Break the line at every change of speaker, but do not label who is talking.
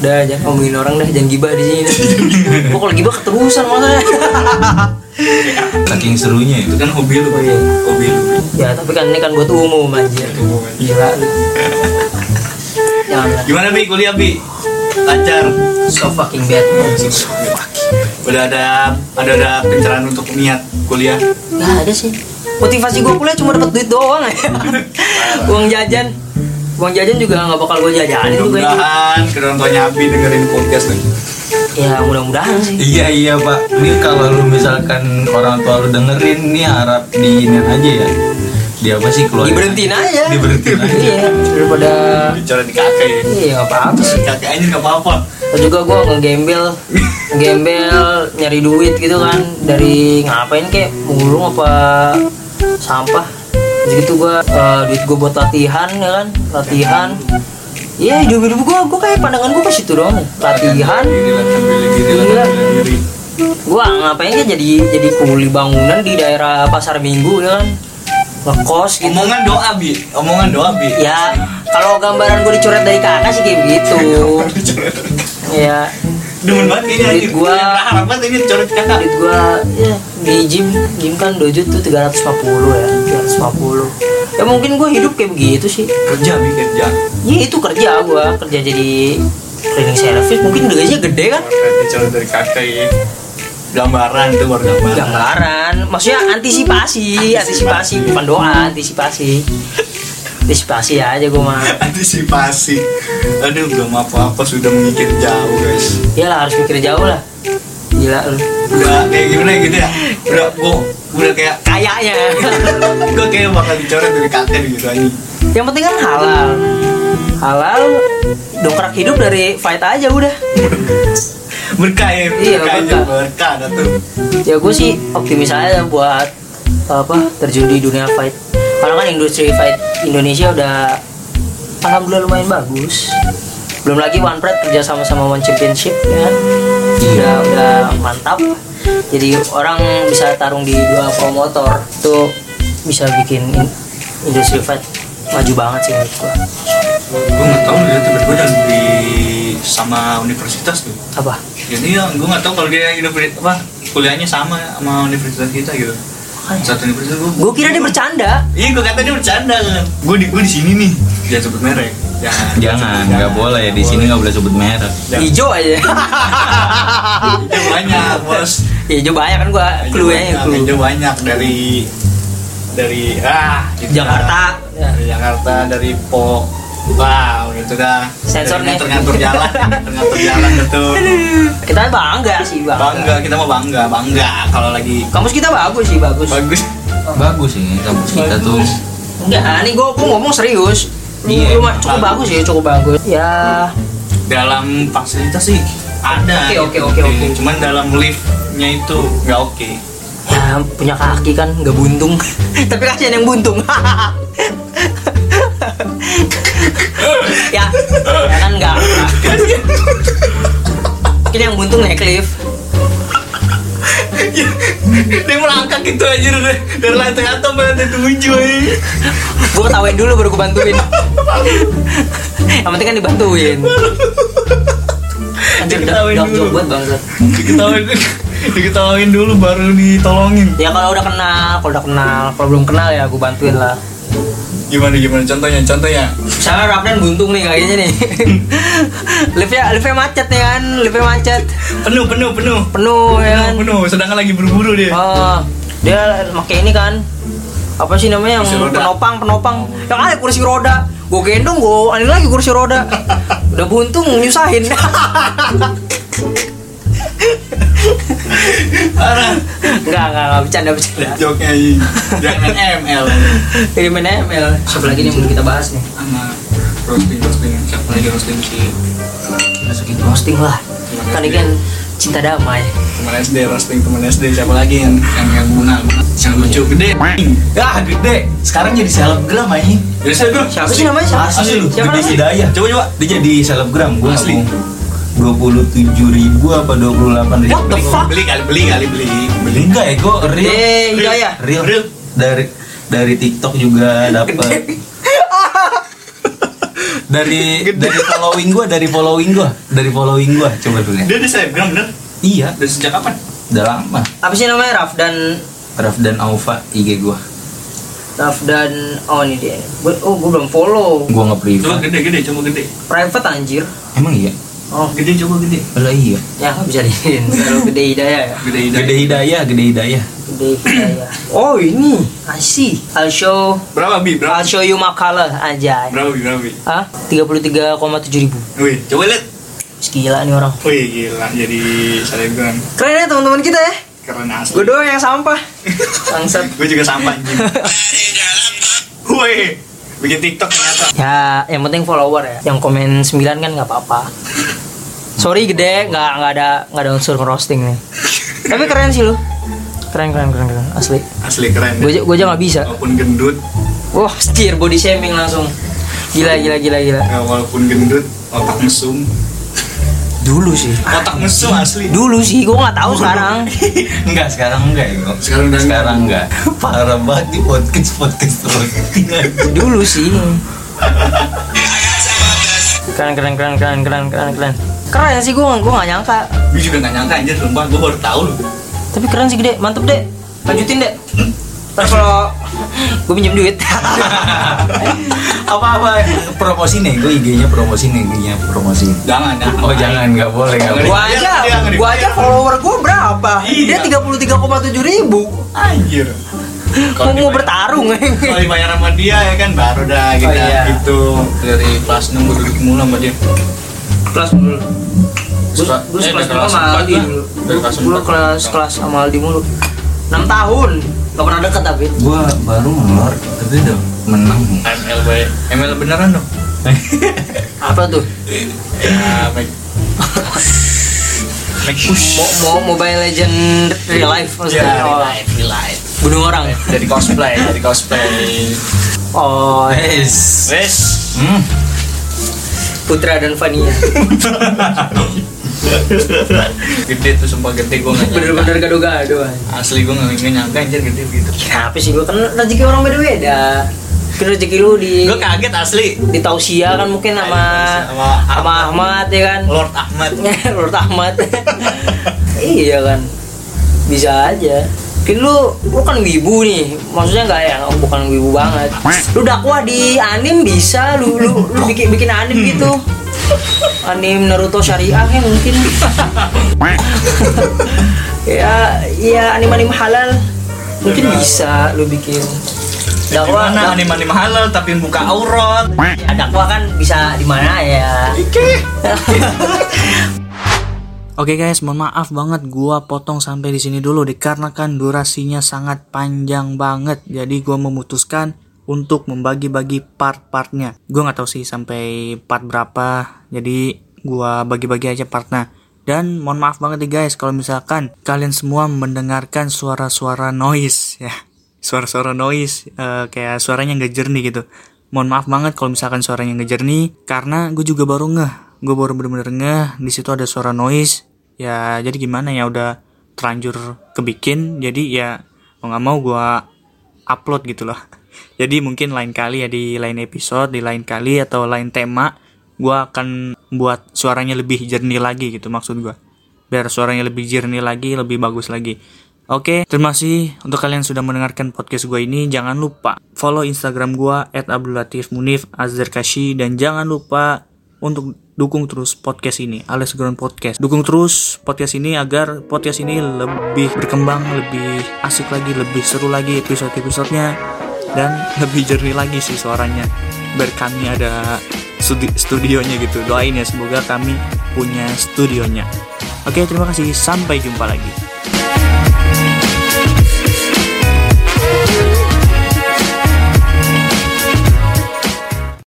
Udah jangan ngomongin orang dah, jangan gibah di sini. Gue kalau gibah keterusan malah.
saking serunya itu
itu kan hobi lu
Oh, iya.
hobi lu
ya tapi kan ini kan buat umum anjir. Gila. lu. Jangan lah.
gimana bi kuliah bi lancar
so fucking bad. anjing.
udah ada ada ada pencerahan untuk niat kuliah
Gak ada sih. Motivasi gue kuliah cuma dapat duit doang ya. Uang jajan. Uang jajan juga ya. nggak bakal gue jajanin tuh kayaknya.
mudah-mudahan kedua orang tuanya abi dengerin podcast nih
Ya mudah-mudahan sih.
iya iya pak ini kalau lu misalkan orang tua lu dengerin nih harap diinin aja ya dia apa sih keluar
Diberhentiin aja.
diberhentiin aja
Iya daripada
bicara di kakek ya
iya nggak apa-apa sih.
kakek anjir gak apa-apa
Terus juga gue ngegembel Ngegembel nyari duit gitu kan Dari ngapain kek Mulung apa sampah Terus gitu gue Duit gue buat latihan ya kan Latihan Iya hidup-hidup gue Gue kayak pandangan gue ke situ doang ya. Latihan
diri latihan bela diri
Iya.
latihan bela diri
Gue ngapain kek jadi jadi kuli bangunan di daerah pasar minggu ya kan Ngekos gitu
omongan doa bi omongan doa bi
Ya kalau gambaran gue dicoret dari kakak sih kayak gitu Ya
demen banget kayaknya
Duit
anjir
gua.
berharap banget ini coret kakak
duit gua ya di gym gym kan dojo tuh 350 ya 350 ya mungkin gua hidup kayak begitu sih
kerja bi kerja
ya itu kerja gua kerja jadi cleaning service mungkin gajinya gede kan
Berarti coret dari kakek ya gambaran itu baru gambaran
gambaran maksudnya antisipasi antisipasi bukan doa antisipasi antisipasi aja gua mah
antisipasi aduh belum apa-apa sudah mikir jauh guys
iyalah harus mikir jauh Ya lah gila lu
udah kayak gimana gitu ya udah gua udah kayak
kayaknya
gua kayak bakal dicoret dari kakek gitu aja
yang penting kan halal halal dongkrak hidup dari fight aja udah
berkah ya
Iya,
berkah aja
berkah.
berkah ada tuh
ya gue sih optimis aja buat apa terjun di dunia fight karena kan industri fight Indonesia udah alhamdulillah lumayan bagus belum lagi One Pride kerja sama sama One Championship ya kan udah udah mantap jadi orang bisa tarung di dua promotor itu bisa bikin in- industri fight maju banget sih menurut gua
gua nggak tahu dia tiba-tiba yang di sama universitas tuh
apa
jadi ya gua nggak tahu kalau dia universitas apa kuliahnya sama sama universitas kita gitu satu universitas gua
gue kira dia bercanda
iya gua kata dia bercanda kan gua di gua di sini nih jangan sebut merek Ya, jangan
Ya.
jangan nggak boleh di sini nggak boleh sebut merek
Ya.
hijau aja
Yang banyak bos
hijau banyak kan gua clue nya
banyak,
clue
Indo banyak dari dari ah itu
Jakarta
dah. dari Jakarta dari Po wow itu dah
Sensor nih.
tergantung jalan tergantung jalan betul
kita bangga sih bangga.
bangga kita mau bangga bangga kalau lagi
kampus kita bagus sih bagus
bagus
bagus sih kampus kita tuh
enggak ah, ini gue ngomong serius Lu-
Iya,
lu mah cukup bagus
bagus.
ya cukup bagus ya
dalam fasilitas sih ada
Oke, oke,
gitu.
oke, oke.
cuman dalam liftnya itu nggak oke
ya punya kaki kan nggak buntung tapi kasihan yang buntung ya, ya kan enggak mungkin yang buntung naik lift
dia melangkah gitu aja dari, dari lantai atas sampai lantai tujuh eh. aja.
gue ketawain dulu baru gue bantuin yang penting kan dibantuin Anjir,
Diketawain
dok,
dulu.
dok, buat bangsat.
diketawain diketawain dulu baru ditolongin
Ya kalau udah kenal, kalau udah kenal, kalau belum kenal ya gue bantuin lah.
gimana gimana contohnya contohnya
Misalnya Ramdan buntung nih kayaknya nih. liftnya liftnya macet nih kan, liftnya macet,
penuh penuh penuh
penuh ya
penuh
kan.
penuh sedangkan lagi buru-buru dia
Oh, dia pakai ini kan apa sih namanya
Kursi
yang
roda.
penopang penopang yang ada kursi roda gue gendong gue aneh lagi kursi roda udah buntung nyusahin
parah
enggak enggak enggak bercanda bercanda
joknya iya. ini. Ya. jangan ML
Jadi mana ML? Siapa lagi nih yang belum kita bahas nih?
sama roasting roasting siapa lagi roasting si
Masukin roasting lah. Kan ini kan cinta damai.
teman SD roasting teman SD siapa lagi yang yang yang guna yang lucu gede ah gede
sekarang jadi selebgram aja
jadi saya bilang
Siapa sih namanya? Siapa?
asli lu
Siapa
gede
namanya?
hidayah
coba coba
dia jadi selebgram gue
Asli.
dua puluh tujuh ribu apa dua puluh delapan ribu
What the fuck?
beli kali beli kali beli
beli nggak ya gue real
Eh, Hidayah.
real
Real.
dari dari TikTok juga dapat dari dari following gua dari following gua dari following gua coba dulu ya
Dia di selebgram bener?
iya
Dari sejak kapan?
udah lama
apa sih namanya Raf dan
Raf dan Aufa IG gua
Raf dan oh ini dia Gua- oh gue belum follow
gua nge
Coba
private
gede-gede, coba gede
private anjir
emang iya
oh
Gede, coba gede
Lah iya
ya nggak bisa diin terlalu gede hidayah ya
Gede hidayah
gede hidayah gede hidayah
gede hidayah oh ini asih I'll show
Berapa Bi? Berapa?
I'll show you makalah aja
Berapa Bi? Berapa Bi?
ah tiga puluh tiga koma tujuh ribu
Wih, coba lihat
gila nih orang
Wih, gila jadi selebgram
keren ya teman-teman kita ya
Keren asli
gue doang yang sampah bangsat
Gue juga sampah anjing Wih, bikin tiktok ternyata
ya yang penting follower ya yang komen 9 kan nggak apa-apa sorry gede nggak nggak ada nggak ada unsur roasting nih tapi keren sih lu keren keren keren keren asli
Asli keren
gue aja- gue aja nggak bisa
Walaupun gendut
wah setir body shaming langsung gila gila gila gila
eh, Walaupun gendut Otak mesum
dulu sih
Otak mesum asli
dulu sih gue nggak tahu sekarang
enggak sekarang enggak ya Ngo.
Sekarang udah
sekarang enggak parah banget di podcast podcast roasting aja.
dulu sih keren keren keren keren keren keren keren keren sih gue gue nggak nyangka
Gue juga gak nyangka anjir Sumpah, gue baru tau loh
tapi keren sih gede mantep deh lanjutin deh terus kalau gue pinjem duit
apa-apa promosi nego IG-nya promosi nego-nya promosi
Jangan, jangan
oh jangan nggak boleh nggak boleh
gua aja
Dia nggak
gua aja
dibayar.
follower gua berapa
Iya.
dia 33,7 ribu
Anjir
mau mau bertarung eh.
Kalau dibayar sama dia ya kan baru dah kita
Oh, iya.
gitu Dari kelas 6 gue duduk mulu sama dia
kelas dulu
Suka-
gue
eh,
kelas dulu
dari kelas
sama
empat
Aldi
lah.
dulu
Dari kelas
gue
empat.
kelas kelas sama Aldi mulu 6 tahun gak pernah deket tapi
gua baru ngeluar tapi udah menang
ML baik ML beneran dong
apa tuh
Ya, make Make push
Mo mo- Mobile Legend real life maksudnya
Ya,
Oh,
live, live
bunuh orang
Jadi cosplay, jadi cosplay
oh
Wes.
Wes
Hmm.
Putra dan Fania
Gede tuh sumpah gede gue gak nyangka
bener-bener gado-gado aja.
Asli gue gak nyangka anjir gede gitu. begitu
kenapa sih gue kan rezeki orang beda-beda Mungkin rezeki lu di
Gue kaget asli
di Tausia kan mungkin sama
Sama
sama Ahmad ya kan
Lord Ahmad
Lord Ahmad iya kan bisa aja mungkin lu lu kan wibu nih maksudnya nggak ya bukan wibu banget lu dakwah di anim bisa lu lu, lu bikin bikin anim gitu anim Naruto syariah ya mungkin ya ya anim anim halal mungkin bisa lu bikin dakwah
Gimana anime-anime halal tapi buka aurat
Ya, dakwah kan bisa di mana ya.
Oke guys, mohon maaf banget gua potong sampai di sini dulu dikarenakan durasinya sangat panjang banget. Jadi gua memutuskan untuk membagi-bagi part-partnya. Gua nggak tahu sih sampai part berapa. Jadi gua bagi-bagi aja partnya. Dan mohon maaf banget nih guys kalau misalkan kalian semua mendengarkan suara-suara noise ya suara-suara noise eh, kayak suaranya nggak jernih gitu mohon maaf banget kalau misalkan suaranya nggak jernih karena gue juga baru ngeh gue baru bener-bener ngeh di situ ada suara noise ya jadi gimana ya udah terlanjur kebikin jadi ya mau nggak mau gue upload gitu loh jadi mungkin lain kali ya di lain episode di lain kali atau lain tema gue akan buat suaranya lebih jernih lagi gitu maksud gue biar suaranya lebih jernih lagi, lebih bagus lagi. Oke, terima kasih untuk kalian sudah mendengarkan podcast gue ini. Jangan lupa follow Instagram gue @abdulatifmunif azdarkashi dan jangan lupa untuk dukung terus podcast ini, alias Ground Podcast. Dukung terus podcast ini agar podcast ini lebih berkembang, lebih asik lagi, lebih seru lagi episode-episodenya dan lebih jernih lagi sih suaranya. Biar kami ada studi- studionya gitu. Doain ya semoga kami punya studionya. Oke, terima kasih. Sampai jumpa lagi.